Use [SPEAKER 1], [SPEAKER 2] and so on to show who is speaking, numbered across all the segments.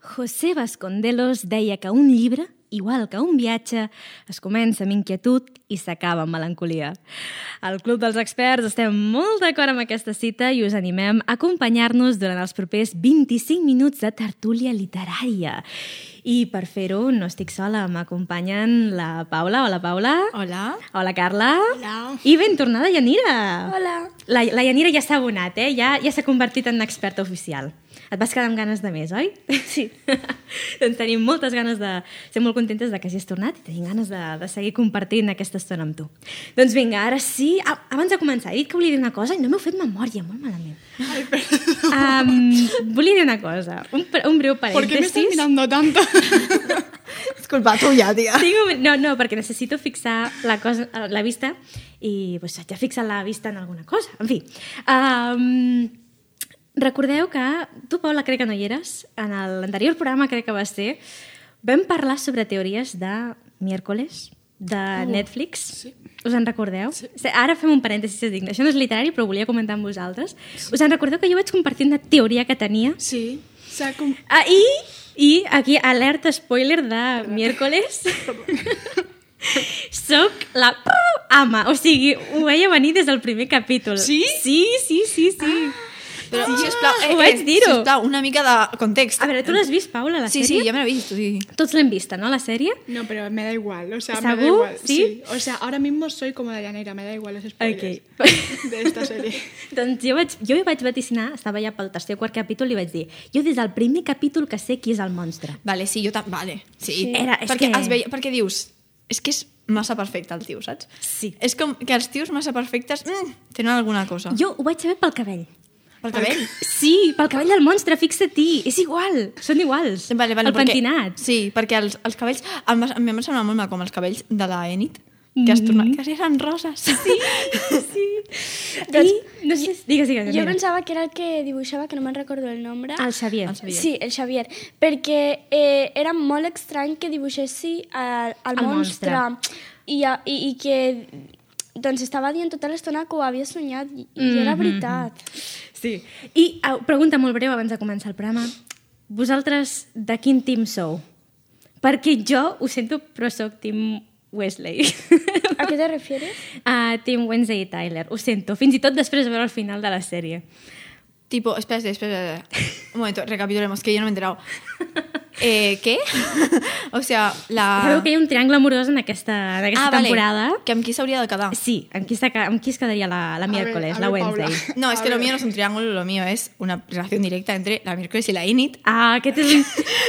[SPEAKER 1] José Vasconcelos deia que un llibre, igual que un viatge, es comença amb inquietud i s'acaba amb melancolia. Al Club dels Experts estem molt d'acord amb aquesta cita i us animem a acompanyar-nos durant els propers 25 minuts de tertúlia literària. I per fer-ho no estic sola, m'acompanyen la Paula. Hola, Paula.
[SPEAKER 2] Hola.
[SPEAKER 1] Hola, Carla.
[SPEAKER 2] Hola.
[SPEAKER 1] I ben tornada, Yanira.
[SPEAKER 2] Hola.
[SPEAKER 1] La, la Yanira ja s'ha abonat, eh? Ja, ja s'ha convertit en experta oficial. Et vas quedar amb ganes de més, oi? Sí. doncs tenim moltes ganes de... Estem molt contentes de que hagis tornat i tenim ganes de, de seguir compartint aquesta estona amb tu. Doncs vinga, ara sí... Ah, abans de començar, he dit que volia dir una cosa i no m'heu fet memòria, molt malament.
[SPEAKER 2] Ay, perdón.
[SPEAKER 1] Um, volia dir una cosa, un, pre- un breu
[SPEAKER 2] ¿Por
[SPEAKER 1] parèntesis.
[SPEAKER 2] qué me estás mirando tanto? es culpa tuya, tía.
[SPEAKER 1] Tinc un... No, no, perquè necessito fixar la, cosa, eh, la vista i pues, haig de fixar la vista en alguna cosa. En fi, um, recordeu que tu, Paula, crec que no hi eres. En el- l'anterior programa, crec que va ser, vam parlar sobre teories de miércoles, de uh, Netflix.
[SPEAKER 2] sí.
[SPEAKER 1] Us en recordeu? Sí. Ara fem un parèntesis digne. Això no és literari, però volia comentar amb vosaltres. Sí. Us en recordeu que jo vaig compartir una teoria que tenia
[SPEAKER 2] Sí. O sea, como...
[SPEAKER 1] Ah, i, i aquí, alerta spoiler de miércoles. Soc la ama. O sigui, ho veia venir des del primer capítol.
[SPEAKER 2] Sí?
[SPEAKER 1] Sí, sí, sí, sí.
[SPEAKER 3] Però, ah, sisplau, eh,
[SPEAKER 1] ho vaig
[SPEAKER 3] eh,
[SPEAKER 1] dir-ho.
[SPEAKER 3] Sisplau, una mica de context.
[SPEAKER 1] A veure, tu l'has vist, Paula, la
[SPEAKER 3] sí,
[SPEAKER 1] sèrie?
[SPEAKER 3] sí, ja me l'he vist, sí.
[SPEAKER 1] Tots l'hem vista, no, la sèrie?
[SPEAKER 2] No, pero me da igual, o sea, me da
[SPEAKER 1] ¿Sabu?
[SPEAKER 2] igual.
[SPEAKER 1] ¿Sí?
[SPEAKER 2] O sea, ahora mismo soy como Dayanera, me da igual los spoilers
[SPEAKER 1] Ok.
[SPEAKER 2] de esta serie.
[SPEAKER 1] Doncs jo, vaig, jo hi vaig vaticinar, estava ja pel tercer o quart capítol, i vaig dir, jo des del primer capítol que sé qui és el monstre.
[SPEAKER 3] Vale, sí, jo també... Vale, sí.
[SPEAKER 1] Sí. Era- és
[SPEAKER 3] perquè,
[SPEAKER 1] que-
[SPEAKER 3] es veia, perquè dius, és que és massa perfecte el tio, saps?
[SPEAKER 1] Sí.
[SPEAKER 3] És com que els tios massa perfectes mm, tenen alguna cosa.
[SPEAKER 1] Jo ho vaig saber pel cabell.
[SPEAKER 3] Pel cabell.
[SPEAKER 1] Sí, pel cabell del monstre, fixa-t'hi. És igual, són iguals.
[SPEAKER 3] Vale, vale,
[SPEAKER 1] el pentinat.
[SPEAKER 3] Sí, perquè els, els cabells... Em va, a mi em va semblar molt mal com els cabells de la Enid, que es tornen... Que eren roses. Sí. Doncs,
[SPEAKER 1] I, no sé, digues, digues.
[SPEAKER 4] Jo
[SPEAKER 1] Yanira.
[SPEAKER 4] pensava que era el que dibuixava, que no me'n recordo el nombre.
[SPEAKER 1] El Xavier.
[SPEAKER 3] El Xavier.
[SPEAKER 4] Sí, el Xavier. Perquè eh, era molt estrany que dibuixessi el, el,
[SPEAKER 1] El
[SPEAKER 4] el
[SPEAKER 1] monstre.
[SPEAKER 4] monstre. I, a- i, I que doncs estava dient tota l'estona que ho havia somiat i, i era veritat.
[SPEAKER 1] Sí. I au, pregunta molt breu abans de començar el programa. Vosaltres de quin team sou? Perquè jo ho sento, però sóc team Wesley.
[SPEAKER 4] A què te refieres?
[SPEAKER 1] uh, team Wednesday i Tyler. Ho sento. Fins i tot després de veure el final de la sèrie.
[SPEAKER 3] Tipo, espera, espera, espera, espera. Un momento, recapitulemos, que yo no me he enterado. Eh, ¿Qué? o sea, la... Ah,
[SPEAKER 1] Sabeu que hi ha un triangle amorós en aquesta, en aquesta temporada?
[SPEAKER 3] Que amb qui s'hauria de quedar.
[SPEAKER 1] Sí, amb qui, es, amb qui es quedaria la, la
[SPEAKER 2] ver,
[SPEAKER 1] miércoles,
[SPEAKER 2] a
[SPEAKER 1] la
[SPEAKER 2] ver, Paula.
[SPEAKER 1] Wednesday?
[SPEAKER 3] No, es
[SPEAKER 2] A
[SPEAKER 3] que lo
[SPEAKER 2] ver.
[SPEAKER 3] mío no es un triángulo, lo mío es una relación directa entre la miércoles y la Init.
[SPEAKER 1] Ah, aquest és un...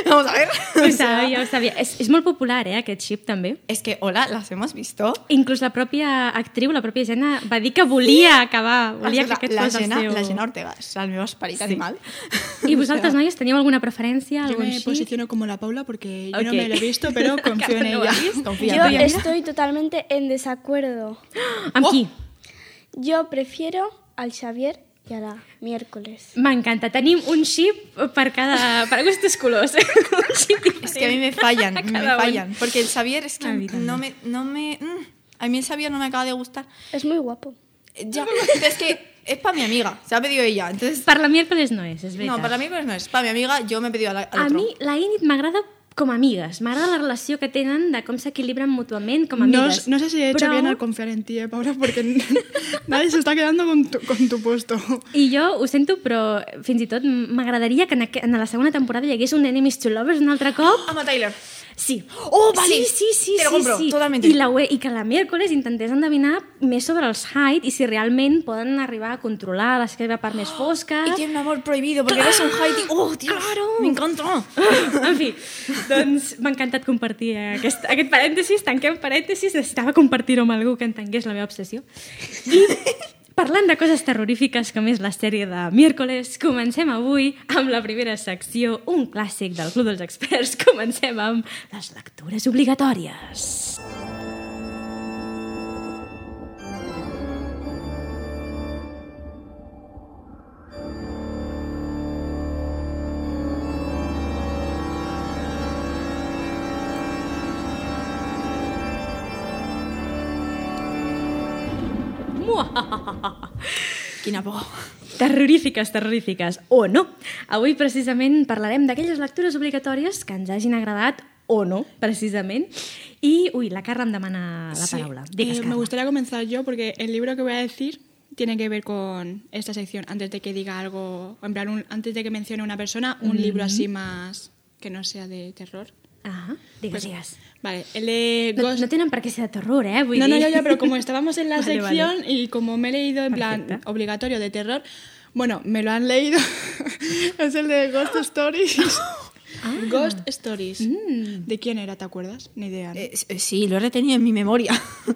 [SPEAKER 3] Vamos a ver.
[SPEAKER 1] Ho
[SPEAKER 3] O sea,
[SPEAKER 1] sabia, ho sabia. És, és molt popular, eh, aquest xip, també.
[SPEAKER 3] es que, hola, las hemos visto.
[SPEAKER 1] Inclús la pròpia actriu, la pròpia Jenna, va dir que volia acabar, volia que
[SPEAKER 3] Escolta,
[SPEAKER 1] aquest
[SPEAKER 3] la,
[SPEAKER 1] fos
[SPEAKER 3] Gena,
[SPEAKER 1] el seu...
[SPEAKER 3] la Gena Ortega, és el meu esperit animal.
[SPEAKER 1] I vosaltres, noies, teníeu alguna preferència?
[SPEAKER 2] Yo
[SPEAKER 1] Algun
[SPEAKER 2] me
[SPEAKER 1] xip?
[SPEAKER 2] posiciono como la Paula porque yo
[SPEAKER 1] Ok.
[SPEAKER 2] no me lo he visto, pero confío en
[SPEAKER 1] No ho
[SPEAKER 2] ella.
[SPEAKER 1] has visto.
[SPEAKER 3] Confía.
[SPEAKER 4] Yo
[SPEAKER 3] Confía.
[SPEAKER 4] estoy totalmente en desacuerdo.
[SPEAKER 3] Oh!
[SPEAKER 1] Amb qui?
[SPEAKER 4] Yo prefiero al Xavier y a la miércoles.
[SPEAKER 1] M'encanta. Tenim un xip per cada... per gustos colors. eh? un xip
[SPEAKER 3] Es que a mí me fallan, me
[SPEAKER 1] Cada un.
[SPEAKER 3] fallan. Porque el Xavier es que
[SPEAKER 1] A mí también.
[SPEAKER 3] no me, no me... mm, a mí el Xavier no me acaba de gustar.
[SPEAKER 4] Es muy guapo.
[SPEAKER 3] Ya, es que es para mi amiga, se ha pedido ella. Entonces,
[SPEAKER 1] Per la miércoles no és, és veritat.
[SPEAKER 3] no, para mí pues no es. Para mi amiga yo me he pedido a la- al
[SPEAKER 1] A
[SPEAKER 3] otro.
[SPEAKER 1] mi la Init m'agrada com a amigues. M'agrada la relació que tenen de com s'equilibren mútuament com a
[SPEAKER 2] No,
[SPEAKER 1] amigues.
[SPEAKER 2] no sé si he hecho
[SPEAKER 1] Però-
[SPEAKER 2] bien al confiar en ti, eh, Paula, porque nadie se está quedando con tu, con tu puesto.
[SPEAKER 1] I jo ho sento, però fins i tot m'agradaria que en, aqu- en la segona temporada hi hagués un Enemies to Lovers un altre cop.
[SPEAKER 3] Ama Tyler.
[SPEAKER 1] Sí.
[SPEAKER 3] Oh, vale.
[SPEAKER 1] Sí, sí, sí.
[SPEAKER 3] Te lo
[SPEAKER 1] sí,
[SPEAKER 3] compro,
[SPEAKER 1] sí.
[SPEAKER 3] totalmente.
[SPEAKER 1] I, la, we- I que la miércoles intentés endevinar més sobre els Hyde i si realment poden arribar a controlar la seva part més fosca.
[SPEAKER 3] Y tiene un amor prohibido porque eres un Heidi. ¡Oh, tío!
[SPEAKER 1] Ah. Claro.
[SPEAKER 3] ¡Me encanta!
[SPEAKER 1] en fi, doncs m'ha encantat compartir aquest, aquest parèntesis, tanquem parèntesis, necessitava compartir-ho amb algú que entengués la meva obsessió. I parlant de coses terrorífiques, com és la sèrie de Miércoles, comencem avui amb la primera secció, un clàssic del Club dels Experts. Comencem amb les lectures obligatòries.
[SPEAKER 3] Quina por.
[SPEAKER 1] Terrorífiques, terrorífiques, o no. Avui precisament parlarem d'aquelles lectures obligatòries que ens hagin agradat o no, precisament. I, ui, la Carla em demana la paraula.
[SPEAKER 2] Sí.
[SPEAKER 1] Digues,
[SPEAKER 2] Eh, me
[SPEAKER 1] Carla.
[SPEAKER 2] gustaría comenzar yo porque el libro que voy a decir tiene que ver con esta sección. Antes de que diga algo, en plan, un- antes de que mencione una persona, un libro así más que no sea de terror.
[SPEAKER 1] Ah, digues,
[SPEAKER 2] Pues-
[SPEAKER 1] digues.
[SPEAKER 2] Vale, el de
[SPEAKER 1] No,
[SPEAKER 2] Ghost.
[SPEAKER 1] no tenen per què ser de terror, eh? Vull
[SPEAKER 2] No, no,
[SPEAKER 1] dir...
[SPEAKER 2] ya, ya, pero como estábamos en la
[SPEAKER 1] Vale, vale.
[SPEAKER 2] sección y como me he leído en plan
[SPEAKER 1] Perfecto.
[SPEAKER 2] obligatorio de terror, bueno, me lo han leído. es el de Ghost Stories. Ah. Mm. Ghost Stories. ¿De quién era? ¿Te acuerdas? Ni idea. ¿no?
[SPEAKER 3] Eh, sí, lo he retenido en mi memoria.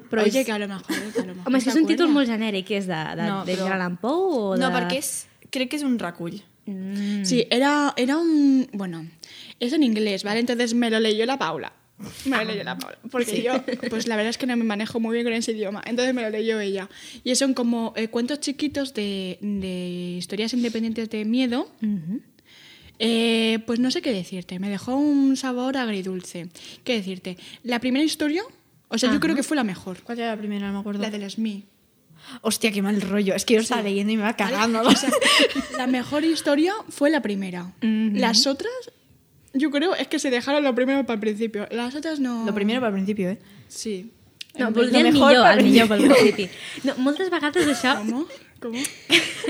[SPEAKER 2] Però Oye, que a lo mejor... Que a lo mejor
[SPEAKER 1] Home, és que
[SPEAKER 2] se
[SPEAKER 1] és un títol
[SPEAKER 2] acuerda.
[SPEAKER 1] molt genèric, és de, de, no, de Edgar Allan Poe o de...
[SPEAKER 3] No, perquè és... Crec que és un recull.
[SPEAKER 1] Mm.
[SPEAKER 2] Sí, era, era un... Bueno, es en inglés, ¿vale? Entonces me lo leyó la Paula. Me lo leyó la Paula. Porque yo, pues la verdad es que no me manejo muy bien con ese idioma. Entonces me lo leyó ella. Y son como eh, cuentos chiquitos de, de historias independientes de miedo. Eh, pues no sé qué decirte, me dejó un sabor agridulce. ¿Qué decirte? La primera historia, o sea, yo creo que fue la mejor.
[SPEAKER 3] ¿Cuál era la primera? No me acuerdo.
[SPEAKER 2] La de las Mii.
[SPEAKER 3] Hostia, qué mal rollo. Es que yo estaba leyendo y me va cagando.
[SPEAKER 2] O sea, la mejor historia fue la primera. Las otras, yo creo, es que se dejaron lo primero para el principio. Las otras no.
[SPEAKER 3] Lo primero para el principio, ¿eh?
[SPEAKER 2] Sí.
[SPEAKER 1] No,
[SPEAKER 2] En
[SPEAKER 1] voldria el
[SPEAKER 3] mejor
[SPEAKER 1] millor,
[SPEAKER 3] per
[SPEAKER 1] el millor pel
[SPEAKER 3] mi.
[SPEAKER 1] City. No, moltes vegades això...
[SPEAKER 2] plan, ¿Cómo? ¿Cómo?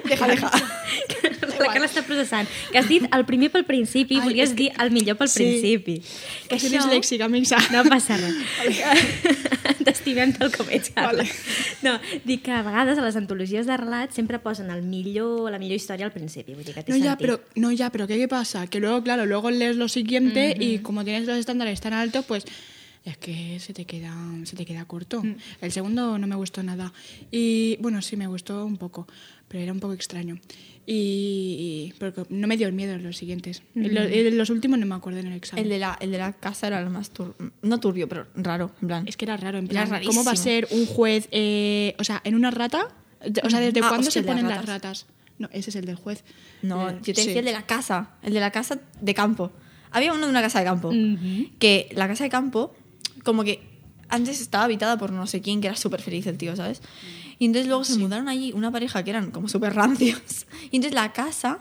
[SPEAKER 3] Deja, deja.
[SPEAKER 1] La Carla està processant. Que has dit el primer pel principi, Ai, volies dir el millor pel sí. principi.
[SPEAKER 2] Que soy disléxica, Mixa.
[SPEAKER 1] No passa res. T'estimem tal com ets, Carla. No, dic que a vegades a les antologies de relats sempre posen el millor, la millor història al principi. Vull dir que té
[SPEAKER 2] No ya,
[SPEAKER 1] sentit.
[SPEAKER 2] pero, no, ya, pero ¿qué, qué pasa? Que luego, claro, luego lees lo siguiente y como tienes los estándares tan altos, pues es que se te queda, se te queda corto.
[SPEAKER 3] Mm.
[SPEAKER 2] El segundo no me gustó nada. Y bueno, sí, me gustó un poco, pero era un poco extraño. Y, y- porque no me dio miedo los siguientes. Y lo- y los, últimos no me acuerdo en el examen.
[SPEAKER 3] El de, la, el de la casa era el más turbio. No turbio, pero raro, en plan.
[SPEAKER 2] Es que era raro, en
[SPEAKER 3] Era
[SPEAKER 2] plan, ¿cómo va a
[SPEAKER 3] rarísimo.
[SPEAKER 2] ser un juez, eh, o sea, en una rata? O sea, ¿desde
[SPEAKER 3] Ah,
[SPEAKER 2] cuándo
[SPEAKER 3] hostia, las
[SPEAKER 2] se ponen las
[SPEAKER 3] ratas.
[SPEAKER 2] ratas? No, ese es el del juez.
[SPEAKER 3] No,
[SPEAKER 2] Eh,
[SPEAKER 3] yo te
[SPEAKER 2] sí.
[SPEAKER 3] decía el de la casa, el de la casa de campo. Había uno de una casa de campo,
[SPEAKER 2] Mm.
[SPEAKER 3] que la casa de campo, como que antes estaba habitada por no sé quién, que era súper feliz el tío, ¿sabes? Y entonces luego se mudaron allí una pareja que eran como súper rancios. Y entonces la casa,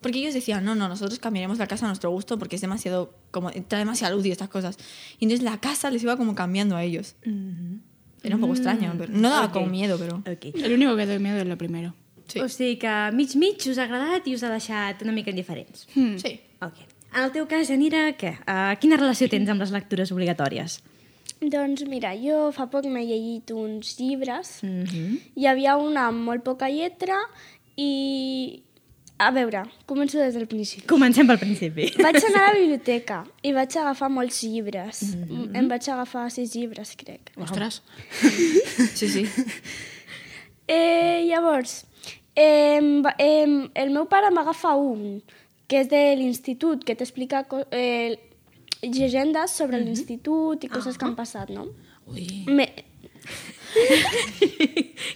[SPEAKER 3] porque ellos decían, no, no, nosotros cambiaremos la casa a nuestro gusto porque es demasiado, como, trae demasiado odio estas cosas. Y entonces la casa les iba como cambiando a ellos. Era un poco extraño, pero no daba
[SPEAKER 1] Ok.
[SPEAKER 3] como miedo, pero...
[SPEAKER 1] Ok.
[SPEAKER 2] El único que doy miedo es lo primero.
[SPEAKER 3] Sí.
[SPEAKER 1] O sigui que mig-mig us ha agradat i us ha deixat una mica indiferents.
[SPEAKER 2] Hmm.
[SPEAKER 3] Sí.
[SPEAKER 1] Ok. En el teu cas, Janira, què? Uh, quina relació tens amb les lectures obligatòries?
[SPEAKER 4] Doncs mira, jo fa poc m'he llegit uns llibres.
[SPEAKER 1] Mm -hmm.
[SPEAKER 4] Hi havia una amb molt poca lletra i... A veure, començo des del principi.
[SPEAKER 1] Comencem pel principi.
[SPEAKER 4] Vaig anar a la biblioteca i vaig agafar molts llibres. Mm -hmm. Em vaig agafar sis llibres, crec.
[SPEAKER 2] Ostras.
[SPEAKER 3] Sí, sí.
[SPEAKER 4] Eh, llavors, eh, eh, el meu pare m'agafa un, que és de l'institut, que t'explica co- eh, llegendes sobre l'institut i coses que han passat, no?
[SPEAKER 2] Uy.
[SPEAKER 4] Me,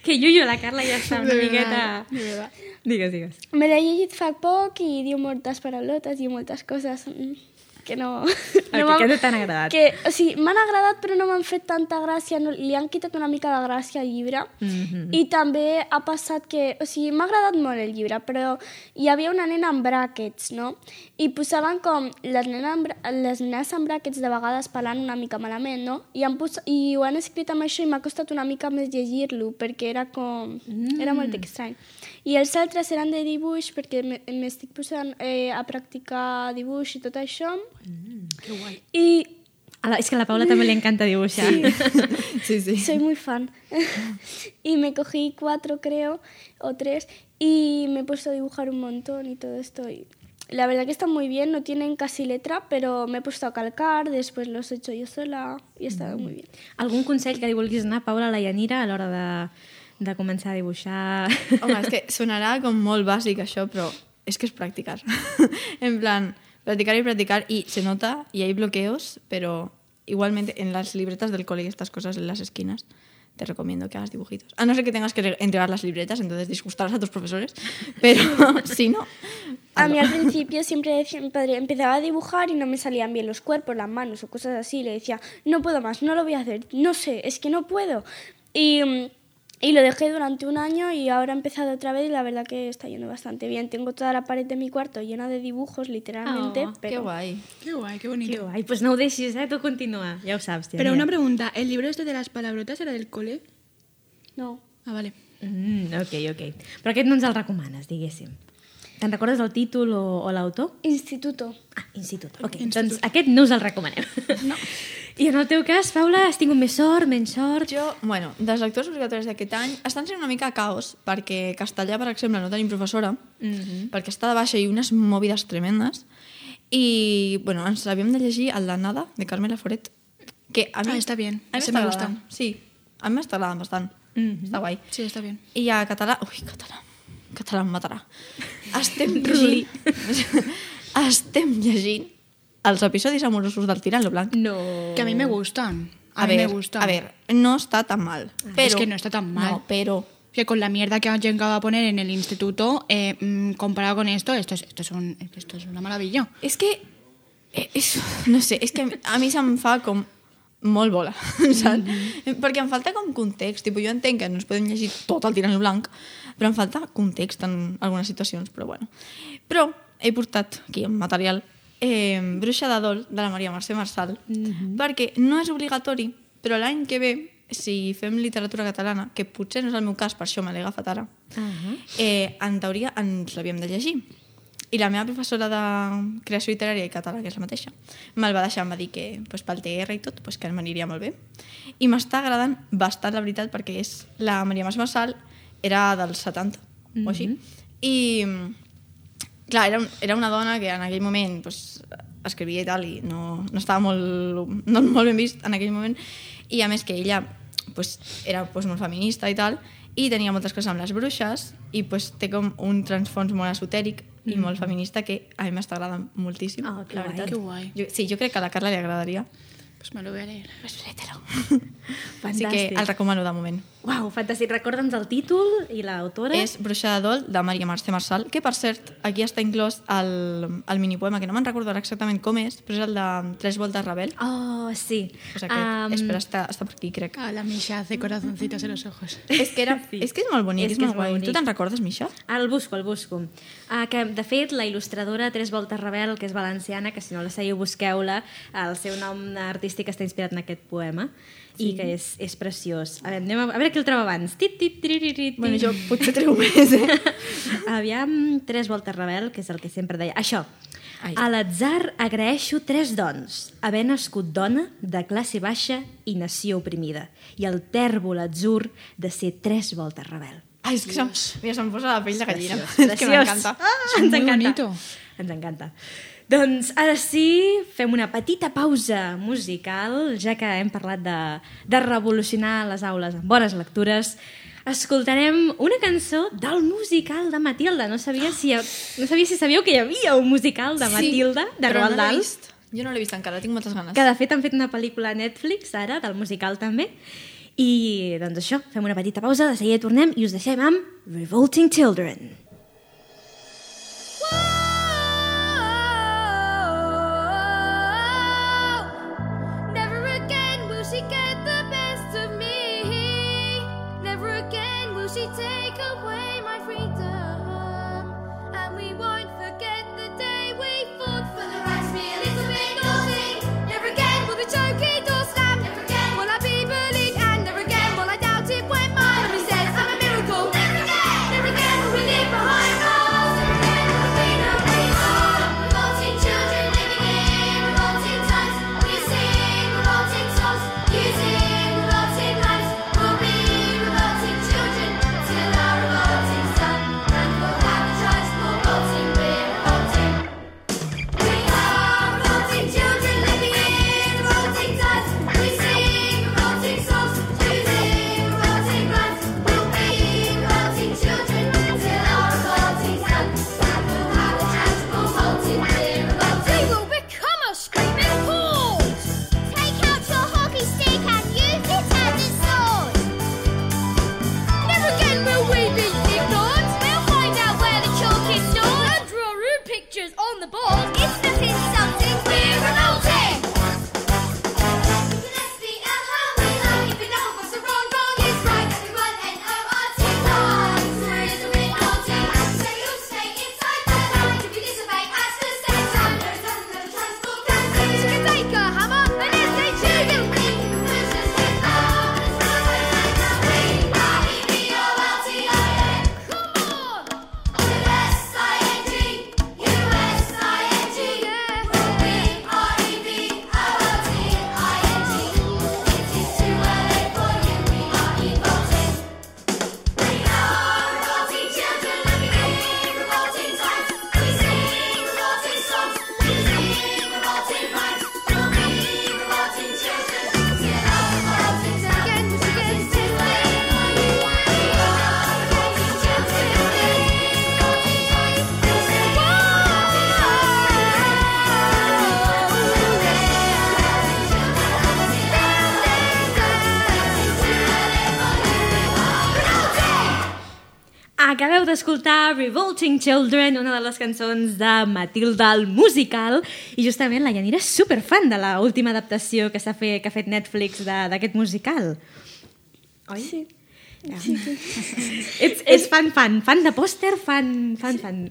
[SPEAKER 1] que jo i la Carla ja està una
[SPEAKER 2] De
[SPEAKER 1] miqueta...
[SPEAKER 2] verdad, de verdad.
[SPEAKER 1] Digues, digues.
[SPEAKER 4] me l'he llegit fa poc i diu moltes paraulotes i moltes coses mm, que no...
[SPEAKER 1] que-
[SPEAKER 4] m'han-
[SPEAKER 1] que no t'han agradat.
[SPEAKER 4] Que, o sigui, m'han agradat però no m'han fet tanta gràcia, no, li han quitat una mica de gràcia al llibre.
[SPEAKER 1] Mhm.
[SPEAKER 4] I també ha passat que... O sigui, m'ha agradat molt el llibre, però hi havia una nena amb bràquets, no? I posaven com les, nena amb, bra- les nenes amb bràquets de vegades parlant una mica malament, no? I, han pos, i ho han escrit amb això i m'ha costat una mica més llegir-lo, perquè era com... Mm. Era molt estrany. I els altres eren de dibuix, perquè m- m'estic posant eh, a practicar dibuix i tot això. Mm, que guai. I
[SPEAKER 1] A la, és que a la Paula també li encanta dibuixar. Sí.
[SPEAKER 3] Sí, sí.
[SPEAKER 4] Soy muy fan. y me cogí cuatro, creo, o tres, y me he puesto a dibujar un montón y todo esto. Y la verdad que está muy bien, no tienen casi letra, pero me he puesto a calcar, después los he hecho yo sola y está muy bien.
[SPEAKER 1] Algun consell que li vulguis donar, Paula, a la Yanira, a l'hora de, de començar a dibuixar?
[SPEAKER 3] Home, és que sonarà com molt bàsic això, però és que és practicar. en plan, practicar i practicar i se nota y hay bloqueos, pero igualmente en las libretas del cole y estas cosas en las esquinas te recomiendo que hagas dibujitos. A no ser que tengas que re- entregar las libretas, entonces disgustarás a tus profesores, pero si no...
[SPEAKER 4] A
[SPEAKER 3] hazlo.
[SPEAKER 4] mí al principio siempre decía, mi padre empezaba a dibujar y no me salían bien los cuerpos, las manos o cosas así. Le decía, no puedo más, no lo voy a hacer, no sé, es que no puedo. Y mm, Y lo dejé durante un año y ahora he empezado otra vez y la verdad que está yendo bastante bien. Tengo toda la pared de mi cuarto llena de dibujos, literalmente.
[SPEAKER 1] Oh,
[SPEAKER 4] pero...
[SPEAKER 3] Ah, Qué guay.
[SPEAKER 2] Qué guai, qué bonito.
[SPEAKER 1] Que guai, pues no ho deixis, eh? Tu continua, ja ho saps. Tia,
[SPEAKER 2] Pero una pregunta, ¿el libro este de las palabrotas era del cole?
[SPEAKER 4] No.
[SPEAKER 2] Ah, vale.
[SPEAKER 1] Mm, ok, ok. Però aquest no ens el recomanes, diguéssim. Te'n recordes el títol o, o l'autor?
[SPEAKER 4] Instituto.
[SPEAKER 1] Ah, institut. Ok, institut. doncs aquest no us el recomanem.
[SPEAKER 4] No.
[SPEAKER 1] I en el teu cas, Paula, has tingut més sort, menys sort?
[SPEAKER 3] Jo, bueno, dels lectors obligatoris d'aquest any estan sent una mica caos perquè castellà, per exemple, no tenim professora mm
[SPEAKER 2] Mhm.
[SPEAKER 3] -hmm. perquè està de baixa i unes mòvides tremendes i, bueno, ens l'havíem de llegir a la nada de Carmela Foret que a mi...
[SPEAKER 2] Ah, està bien.
[SPEAKER 3] A mi m'està
[SPEAKER 2] Ese me
[SPEAKER 3] agradant.
[SPEAKER 2] gusta.
[SPEAKER 3] Sí, a mi m'està agradant bastant. Mm -hmm.
[SPEAKER 2] Mm-hmm.
[SPEAKER 1] Mhm.
[SPEAKER 3] Està guai.
[SPEAKER 2] Sí, está bien.
[SPEAKER 3] I a català... Ui, català. Català em matarà. Estem llegint... estem llegint els episodis amorosos del Tirant lo Blanc.
[SPEAKER 1] No.
[SPEAKER 2] Que a mí me gustan. A, mí
[SPEAKER 3] ver,
[SPEAKER 2] me gustan.
[SPEAKER 3] a ver, no está tan mal. Pero,
[SPEAKER 2] que no está tan mal.
[SPEAKER 3] No, pero...
[SPEAKER 2] Que con la mierda que han llegado a poner en el instituto, eh, mm, comparado con esto, esto es, esto, es un, esto es una maravilla.
[SPEAKER 3] És que... eh, És, no sé, és que a mi se'm fa com molt bola, saps? Perquè em falta com context. Tipo, jo entenc que no ens podem llegir tot el tirant blanc, però em falta context en algunes situacions, però bueno. Però he portat aquí un material eh, Bruixa de Dol, de la Maria Mercè Marçal, perquè no és obligatori, però l'any que ve, si fem literatura catalana, que potser no és el meu cas, per això me l'he agafat ara,
[SPEAKER 1] Uh -huh.
[SPEAKER 3] eh, en teoria ens l'havíem de llegir. I la meva professora de creació literària i català, que és la mateixa, me'l va deixar, em va dir que pues, pel TR i tot, pues, que m'aniria molt bé. I m'està agradant bastant, la veritat, perquè és la Maria Mas Massal era dels 70, mm -hmm. o així. I clar, era, un- era una dona que en aquell moment pues, escrivia i tal i no, no estava molt, no molt ben vist en aquell moment i a més que ella pues, era pues, molt feminista i tal i tenia moltes coses amb les bruixes i pues, té com un transfons molt esotèric i molt feminista que a mi m'està agradant moltíssim
[SPEAKER 1] Ah, que
[SPEAKER 3] la
[SPEAKER 1] guai.
[SPEAKER 3] veritat.
[SPEAKER 2] Qué guay.
[SPEAKER 3] Jo, sí, jo crec que a la Carla li agradaria
[SPEAKER 2] Pues me lo voy a leer.
[SPEAKER 3] pues léetelo així
[SPEAKER 1] Fantàstic.
[SPEAKER 3] que el recomano de moment
[SPEAKER 1] Uau, fantàstic. Recorda'ns el títol i l'autora.
[SPEAKER 3] és Bruixa de Dol, de Maria Mercè Marçal, que, per cert, aquí està inclòs el, el minipoema, que no me'n recordo ara exactament com és, però és el de Tres voltes rebel.
[SPEAKER 1] Oh, sí.
[SPEAKER 3] Pues aquest, um... Espera, està, està per aquí, crec.
[SPEAKER 2] Ah, la Misha hace corazoncitos en los ojos.
[SPEAKER 3] És que, era,
[SPEAKER 1] Sí.
[SPEAKER 3] és que és molt bonic,
[SPEAKER 1] És
[SPEAKER 3] és,
[SPEAKER 1] que
[SPEAKER 3] és molt
[SPEAKER 1] és molt
[SPEAKER 3] guai.
[SPEAKER 1] bonic.
[SPEAKER 3] Tu te'n recordes, Misha?
[SPEAKER 1] Ara el busco, el busco. Ah, que, de fet, la il·lustradora Tres Voltes Rebel, que és valenciana, que si no la seguiu, busqueu-la, el seu nom artístic està inspirat en aquest poema sí. i que és, és preciós. A veure, anem a, a veure qui el troba abans. Tit, tit, tri, tri, tri,
[SPEAKER 3] Bueno, jo potser treu més, eh?
[SPEAKER 1] Aviam, Tres Voltes Rebel, que és el que sempre deia. Això,
[SPEAKER 3] Ai.
[SPEAKER 1] a l'atzar agraeixo tres dons, haver nascut dona, de classe baixa i nació oprimida, i el tèrbol atzur de ser Tres Voltes Rebel.
[SPEAKER 3] Ai, és que se'm, mira, se'm posa la pell de gallina.
[SPEAKER 1] Preciós,
[SPEAKER 3] és que
[SPEAKER 1] preciós.
[SPEAKER 3] m'encanta.
[SPEAKER 1] Ah,
[SPEAKER 2] És
[SPEAKER 1] ens
[SPEAKER 2] muy
[SPEAKER 1] encanta.
[SPEAKER 2] bonito.
[SPEAKER 1] Ens encanta. Doncs ara sí, fem una petita pausa musical, ja que hem parlat de, de revolucionar les aules amb bones lectures. Escoltarem una cançó del musical de Matilda. No sabia si, no sabia si sabíeu que hi havia un musical de Matilda, de
[SPEAKER 3] però
[SPEAKER 1] Roald
[SPEAKER 3] no l'he
[SPEAKER 1] Dahl
[SPEAKER 3] vist. Jo no l'he vist encara, tinc moltes ganes.
[SPEAKER 1] que de fet han fet una pel·lícula a Netflix ara, del musical també, i doncs això, fem una petita pausa, de seguida tornem i us deixem amb Revolting Children.
[SPEAKER 5] Never again will she get the best of me. Never again will she take away my freedom. And we won't forget the day we fought for the right to be a little bit naughty. Never again will the choking door slam. Never again will I be bullied. And never again will I doubt it when my mommy says I'm a miracle. Never again. Never again will we live behind walls. Never again will there be no freedom. Revolting children living in revolting times. We sing revolting songs, using revolting rhymes. We'll be revolting children till our revolting sun. And we'll have the choice for revolting, we're revolting. We are revolting children living in revolting times. We sing revolting songs, using revolting rhymes. We'll be revolting children till our revolting sun. And we'll have the choice for revolting, we're revolting. We will become a screaming horde. Take out your hockey stick and use it as a sword. Never again will we be ignored. We'll find out where the chalk is stored and draw room pictures on the board. It's not insulting, we're revolting. Let's be out how we like. If you know what's wrong, wrong is right. Everyone and I
[SPEAKER 1] d'escoltar Revolting Children, una de les cançons de Matilda al musical, i justament la Janira és superfan de l'última adaptació que s'ha fet, que ha fet Netflix de- d'aquest musical. Oi? Sí. Ja. Sí, Ets, ets fan, fan, fan de pòster, fan, fan, fan.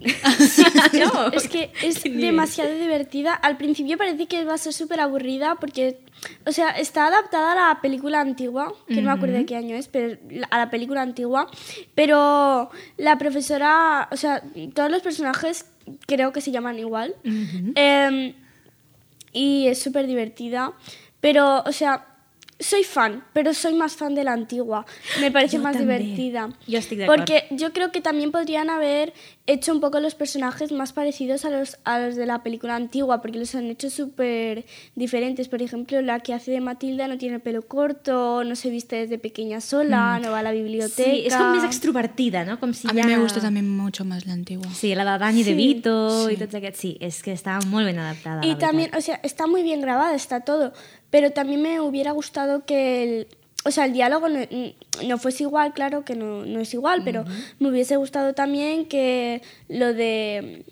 [SPEAKER 1] no,
[SPEAKER 4] Es que es
[SPEAKER 1] ¿Qué nivel?
[SPEAKER 4] demasiado divertida. Al principio parece que va a ser súper aburrida porque, o sea, está adaptada a la película antigua, que no me acuerdo de qué año es, pero la- a la película antigua. Pero la profesora, o sea, todos los personajes creo que se llaman igual. Em, y es súper divertida. Pero, o sea, soy fan, pero soy más fan de la antigua. Me parece
[SPEAKER 1] Yo
[SPEAKER 4] más
[SPEAKER 1] también.
[SPEAKER 4] divertida.
[SPEAKER 1] Yo estoy de
[SPEAKER 4] Porque yo creo que también podrían haber hecho un poco los personajes más parecidos a los, a los de la película antigua, porque los han hecho súper diferentes. Por ejemplo, la que hace de Matilda no tiene el pelo corto, no se viste desde pequeña sola, no va a la biblioteca.
[SPEAKER 1] Mm. Sí, és com més extrovertida, no? Com si
[SPEAKER 2] A
[SPEAKER 1] ja...
[SPEAKER 2] mí me gusta también mucho más la antigua.
[SPEAKER 1] Sí, la de Dani sí, DeVito sí. i
[SPEAKER 2] sí.
[SPEAKER 1] tots aquests. Sí, és que està molt ben adaptada.
[SPEAKER 4] Y
[SPEAKER 1] la veritat.
[SPEAKER 4] también, o sea, está muy bien grabada, está todo, pero también me hubiera gustado que el, o sea, el diálogo no, no fuese igual, claro que no, no es igual, pero me hubiese gustado también que lo de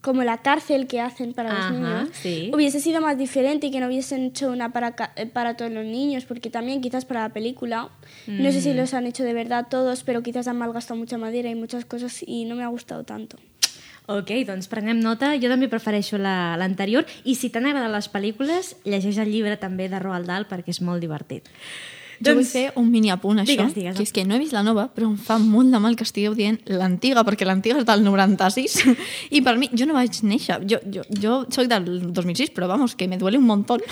[SPEAKER 4] como la cárcel que hacen para
[SPEAKER 1] Ajá,
[SPEAKER 4] los niños
[SPEAKER 1] sí.
[SPEAKER 4] hubiese sido más diferente y que no hubiesen hecho una para, ca- eh, para todos los niños, porque también quizás para la película, no sé si los han hecho de verdad todos, pero quizás han malgastado mucha madera y muchas cosas y no me ha gustado tanto.
[SPEAKER 1] Ok, doncs prenem nota. Jo també prefereixo la- l'anterior. La, I si t'han agradat les pel·lícules, llegeix el llibre també de Roald Dahl perquè és molt divertit. Doncs-
[SPEAKER 3] Jo vull fer un mini apunt, això,
[SPEAKER 1] Digues, digues.
[SPEAKER 3] que és que no he vist la nova, però em fa molt de mal que estigueu dient l'antiga, perquè l'antiga és del 96, i per mi, jo no vaig néixer, jo, jo, jo soc del 2006, però vamos, que me duele un montón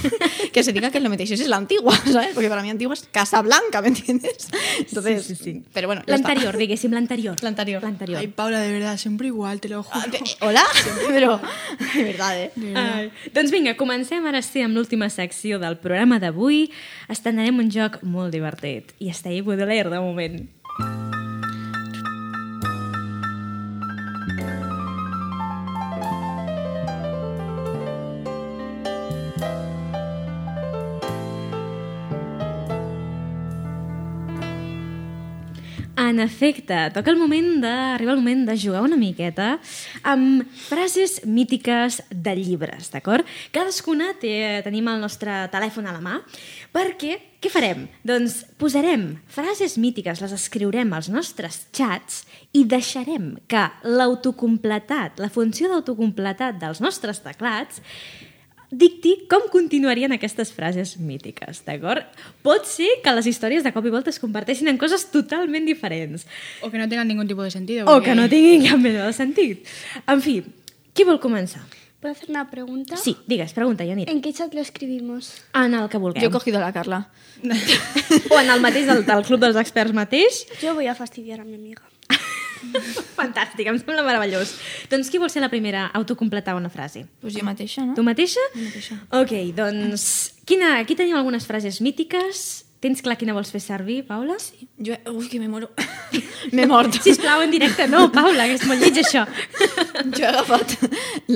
[SPEAKER 3] que se diga que el 96 es la antigua, ¿sabes? Porque para mí antigua es Casablanca, ¿me entiendes? Entonces,
[SPEAKER 1] Sí, sí, sí.
[SPEAKER 3] Pero bueno, ya está.
[SPEAKER 1] L'anterior, diguéssim, l'anterior.
[SPEAKER 3] L'anterior.
[SPEAKER 1] L'anterior.
[SPEAKER 2] Ay, Paula, de verdad, siempre igual, te lo juro.
[SPEAKER 3] Hola, pero de verdad, ¿eh?
[SPEAKER 1] Ai. Doncs vinga, comencem ara sí amb l'última secció del programa d'avui. Estrenarem un joc molt divertit. I està ahí Baudelaire, de moment. En efecte, toca el moment de... arriba el moment de jugar una miqueta amb frases mítiques de llibres, d'acord? Cadascuna té, tenim el nostre telèfon a la mà perquè què farem? Doncs posarem frases mítiques, les escriurem als nostres xats i deixarem que l'autocompletat, la funció d'autocompletat dels nostres teclats dicti com continuarien aquestes frases mítiques, d'acord? Pot ser que les històries de cop i volta es converteixin en coses totalment diferents
[SPEAKER 2] O que no tengan ningún tipo de sentido.
[SPEAKER 1] o
[SPEAKER 2] porque-
[SPEAKER 1] que no tinguin cap mena de sentit. En fi, qui vol començar?
[SPEAKER 4] ¿Puedo hacer una pregunta?
[SPEAKER 1] Sí, digues, pregunta, Janit.
[SPEAKER 4] ¿En qué chat lo escribimos?
[SPEAKER 1] En el que
[SPEAKER 3] Yo he
[SPEAKER 1] vulguem.
[SPEAKER 3] cogido a la Carla.
[SPEAKER 1] O en el mateix del, del Club dels Experts mateix.
[SPEAKER 4] Yo voy a fastidiar a mi amiga.
[SPEAKER 1] Fantàstic, em sembla meravellós. Doncs qui vol ser la primera a autocompletar una frase?
[SPEAKER 3] Pues jo mateixa, no?
[SPEAKER 1] Tu mateixa?
[SPEAKER 3] mateixa.
[SPEAKER 1] Ok, doncs... Quina, aquí tenim algunes frases mítiques. Tens clar quina vols fer servir, Paula? Sí.
[SPEAKER 3] Jo, ui, que me moro. M'he mort.
[SPEAKER 1] Sisplau, en directe. No, Paula, que és molt lleig, això.
[SPEAKER 3] Jo he agafat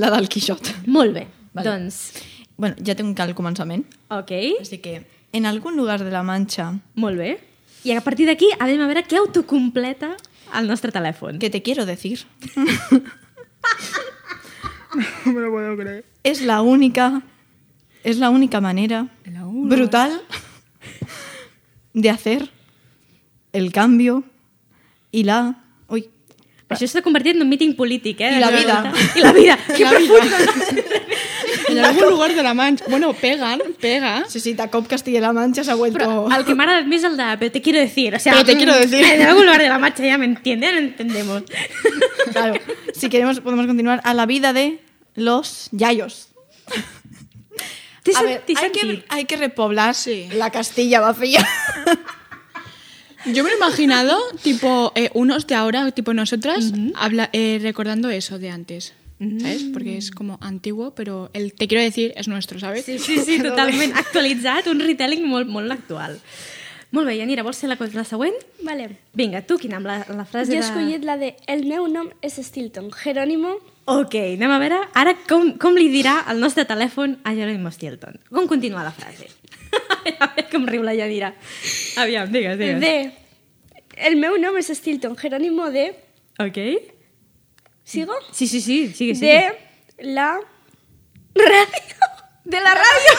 [SPEAKER 3] la del Quixot.
[SPEAKER 1] molt bé. Vale.
[SPEAKER 3] Vale.
[SPEAKER 1] Doncs,
[SPEAKER 3] Bueno, ja tinc el començament.
[SPEAKER 1] ok,
[SPEAKER 3] Així que, en algun lugar de la Manxa,
[SPEAKER 1] molt bé. I a partir d'aquí, a veure, a veure què autocompleta el nostre telèfon.
[SPEAKER 3] que te quiero decir,
[SPEAKER 2] No me lo puedo creer.
[SPEAKER 3] es la única, es la única manera
[SPEAKER 2] La única.
[SPEAKER 3] brutal de hacer el cambio y la... Uy,
[SPEAKER 1] Això s'ha convertit en un míting polític, eh?
[SPEAKER 3] I la
[SPEAKER 1] de
[SPEAKER 3] vida.
[SPEAKER 1] volta. I la vida. Que
[SPEAKER 2] La
[SPEAKER 1] profund.
[SPEAKER 2] En algún lugar de la mancha. Bueno, pegan, pega.
[SPEAKER 3] sí, sí, Tacop Castilla-La Mancha se ha vuelto...
[SPEAKER 1] Però el que m'ha agradat més és el de però te quiero decir, o sea, mm,
[SPEAKER 2] Pero te quiero decir.
[SPEAKER 1] en algún lugar de la marcha ya me entienden, no entendemos.
[SPEAKER 3] Claro, si queremos podemos continuar a la vida de los yayos.
[SPEAKER 1] Té,
[SPEAKER 3] A
[SPEAKER 1] sen-
[SPEAKER 3] ver,
[SPEAKER 1] té
[SPEAKER 3] hay
[SPEAKER 1] sentit.
[SPEAKER 3] que, hay que repoblar
[SPEAKER 2] Sí.
[SPEAKER 3] la Castilla vacía.
[SPEAKER 2] Yo me lo he imaginado, tipo, eh, unos de ahora, tipo nosotras, habla, eh, recordando eso de antes. ¿Sabes? Porque es como antiguo, pero el te quiero decir es nuestro, ¿sabes?
[SPEAKER 1] Sí, sí, sí, totalment actualitzat, un retelling molt, molt actual. Molt bé, Yanira, vols ser la, la següent?
[SPEAKER 4] Vale.
[SPEAKER 1] Vinga, tu, quina, amb la, la frase
[SPEAKER 4] Yo
[SPEAKER 1] de...
[SPEAKER 4] escogí la de El meu nom és Stilton. Jerónimo,
[SPEAKER 1] Ok, anem a veure ara com, com li dirà el nostre telèfon a Jerónimo Stilton. Com continua la frase? a veure com riu la Yanira. Aviam, digues, digues.
[SPEAKER 4] de... El meu nom és Stilton. Jerónimo de...
[SPEAKER 1] Ok.
[SPEAKER 4] ¿Sigo?
[SPEAKER 1] Sí, sí, sí, sigue, sigue.
[SPEAKER 4] De la radio. De la radio.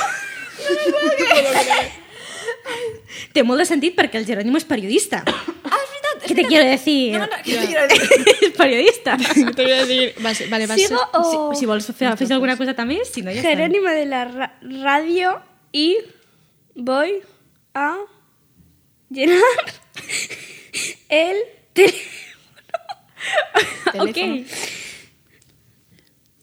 [SPEAKER 1] Té molt de sentit perquè el Jerónimo és periodista.
[SPEAKER 3] Ah, és veritat!
[SPEAKER 1] Què te quiero decir?
[SPEAKER 3] No, no, no,
[SPEAKER 2] Ja.
[SPEAKER 1] és periodista.
[SPEAKER 2] Te voy a decir, vale, vale, vas
[SPEAKER 4] Sigo o
[SPEAKER 1] Si, si vols fer, fes alguna coseta més, si no ja està.
[SPEAKER 4] Jerónimo de la ra- radio y voy a llenar el teléfono. ok.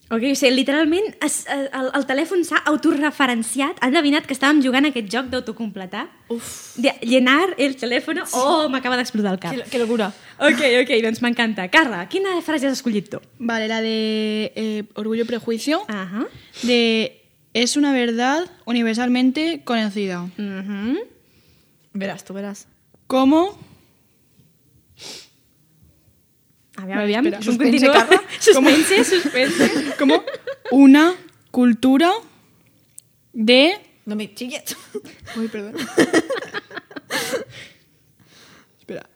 [SPEAKER 1] Ok, o sigui, literalment es, eh, el, el telèfon s'ha autorreferenciat, ha endevinat que estàvem jugant a aquest joc d'autocompletar.
[SPEAKER 3] Uf,
[SPEAKER 1] De llenar el telèfono... Oh, m'acaba d'explotar el cap.
[SPEAKER 3] que, que locura.
[SPEAKER 1] Ok, ok, doncs m'encanta. Carla, quina frase has escollit tu?
[SPEAKER 2] Vale, la de eh, Orgullo y Prejuicio.
[SPEAKER 1] Ahà.
[SPEAKER 2] De es una verdad universalmente conocida.
[SPEAKER 1] Mhm.
[SPEAKER 3] Verás, tú verás.
[SPEAKER 2] ¿Cómo?
[SPEAKER 1] Aviam, aviam,
[SPEAKER 2] espera.
[SPEAKER 1] com
[SPEAKER 2] Suspense,
[SPEAKER 1] continua?
[SPEAKER 2] Carla?
[SPEAKER 1] Suspense, suspense.
[SPEAKER 2] Como una cultura de.
[SPEAKER 3] No me chilles.
[SPEAKER 2] Uy, perdón. Espera.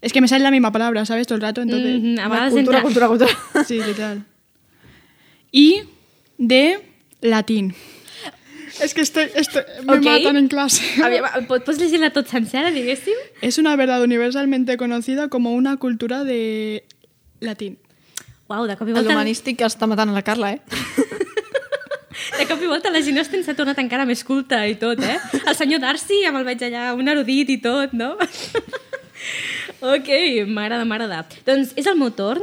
[SPEAKER 2] Es que me sale la misma palabra, ¿sabes? Todo el rato, entonces.
[SPEAKER 1] Mhm, a vegades
[SPEAKER 3] cultura,
[SPEAKER 1] entra-
[SPEAKER 3] cultura, cultura.
[SPEAKER 2] Sí, literal. Y de latín. Es que estoy, estoy- me
[SPEAKER 1] Ok.
[SPEAKER 2] matan en clase.
[SPEAKER 1] Aviam, pot- pots llegir-la tot sencera, diguéssim?
[SPEAKER 2] Es una verdad universalmente conocida como una cultura de latín.
[SPEAKER 1] Uau, de cop i
[SPEAKER 3] El
[SPEAKER 1] volta...
[SPEAKER 3] humanístic està matant a la Carla, eh?
[SPEAKER 1] De cop i volta la Ginés Austin s'ha tornat encara més culta i tot, eh? El senyor Darcy ja me'l veig allà, un erudit i tot, no? Ok, m'agrada, m'agrada. Doncs és el meu torn.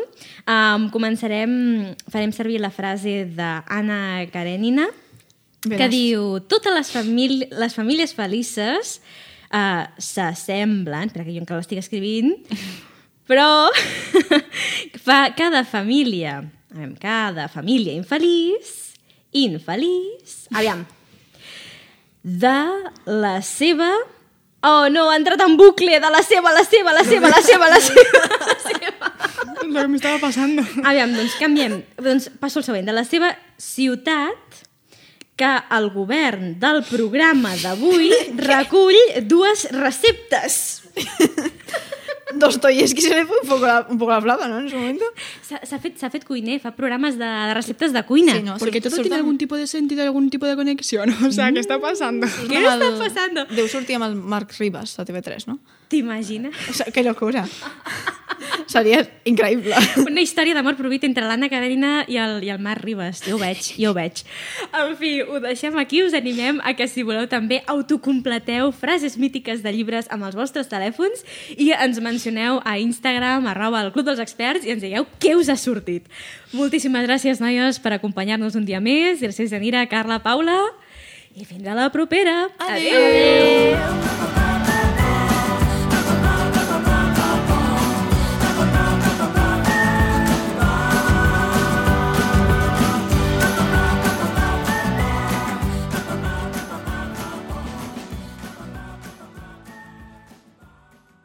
[SPEAKER 1] Um, començarem, farem servir la frase d'Anna Karenina, que
[SPEAKER 3] Veràs.
[SPEAKER 1] diu totes les, famíli les famílies felices uh, s'assemblen, perquè jo encara l'estic escrivint, però fa cada família, aviam, cada família infeliç, infeliç, aviam, de la seva... Oh, no, ha entrat en bucle, de la seva, la seva, la seva, la seva, la seva, la seva.
[SPEAKER 2] Es Lo que me estaba pasando.
[SPEAKER 1] Aviam, doncs canviem. Doncs passo al següent. De la seva ciutat que el govern del programa d'avui recull dues receptes.
[SPEAKER 3] Dostoyevsky se le fue un poco la, un poco la flapa, ¿no? En su momento.
[SPEAKER 1] S'ha s'ha fet, s'ha fet cuiner, fa programes de, de receptes de cuina.
[SPEAKER 3] Sí, no,
[SPEAKER 2] Porque
[SPEAKER 3] sur-
[SPEAKER 2] todo
[SPEAKER 3] surten-
[SPEAKER 2] tiene algún tipo de sentido, algún tipo de conexión. O sea, ¿qué está pasando?
[SPEAKER 1] Què
[SPEAKER 3] surten
[SPEAKER 1] està
[SPEAKER 3] amb el-
[SPEAKER 1] passant?
[SPEAKER 3] Deu sortir amb el Marc Ribas a TV3, no?
[SPEAKER 1] T'imagines?
[SPEAKER 3] O sea, que locura. Seria increïble.
[SPEAKER 1] Una història d'amor provit entre l'Anna Carolina i el, i el Marc Ribas. Jo ho veig, jo ho veig. En fi, ho deixem aquí. Us animem a que, si voleu, també autocompleteu frases mítiques de llibres amb els vostres telèfons i ens mencioneu a Instagram, arroba el Club dels Experts, i ens digueu què us ha sortit. Moltíssimes gràcies, noies, per acompanyar-nos un dia més. Gràcies, Janira, Carla, Paula. I fins a la propera. Adéu! Adéu.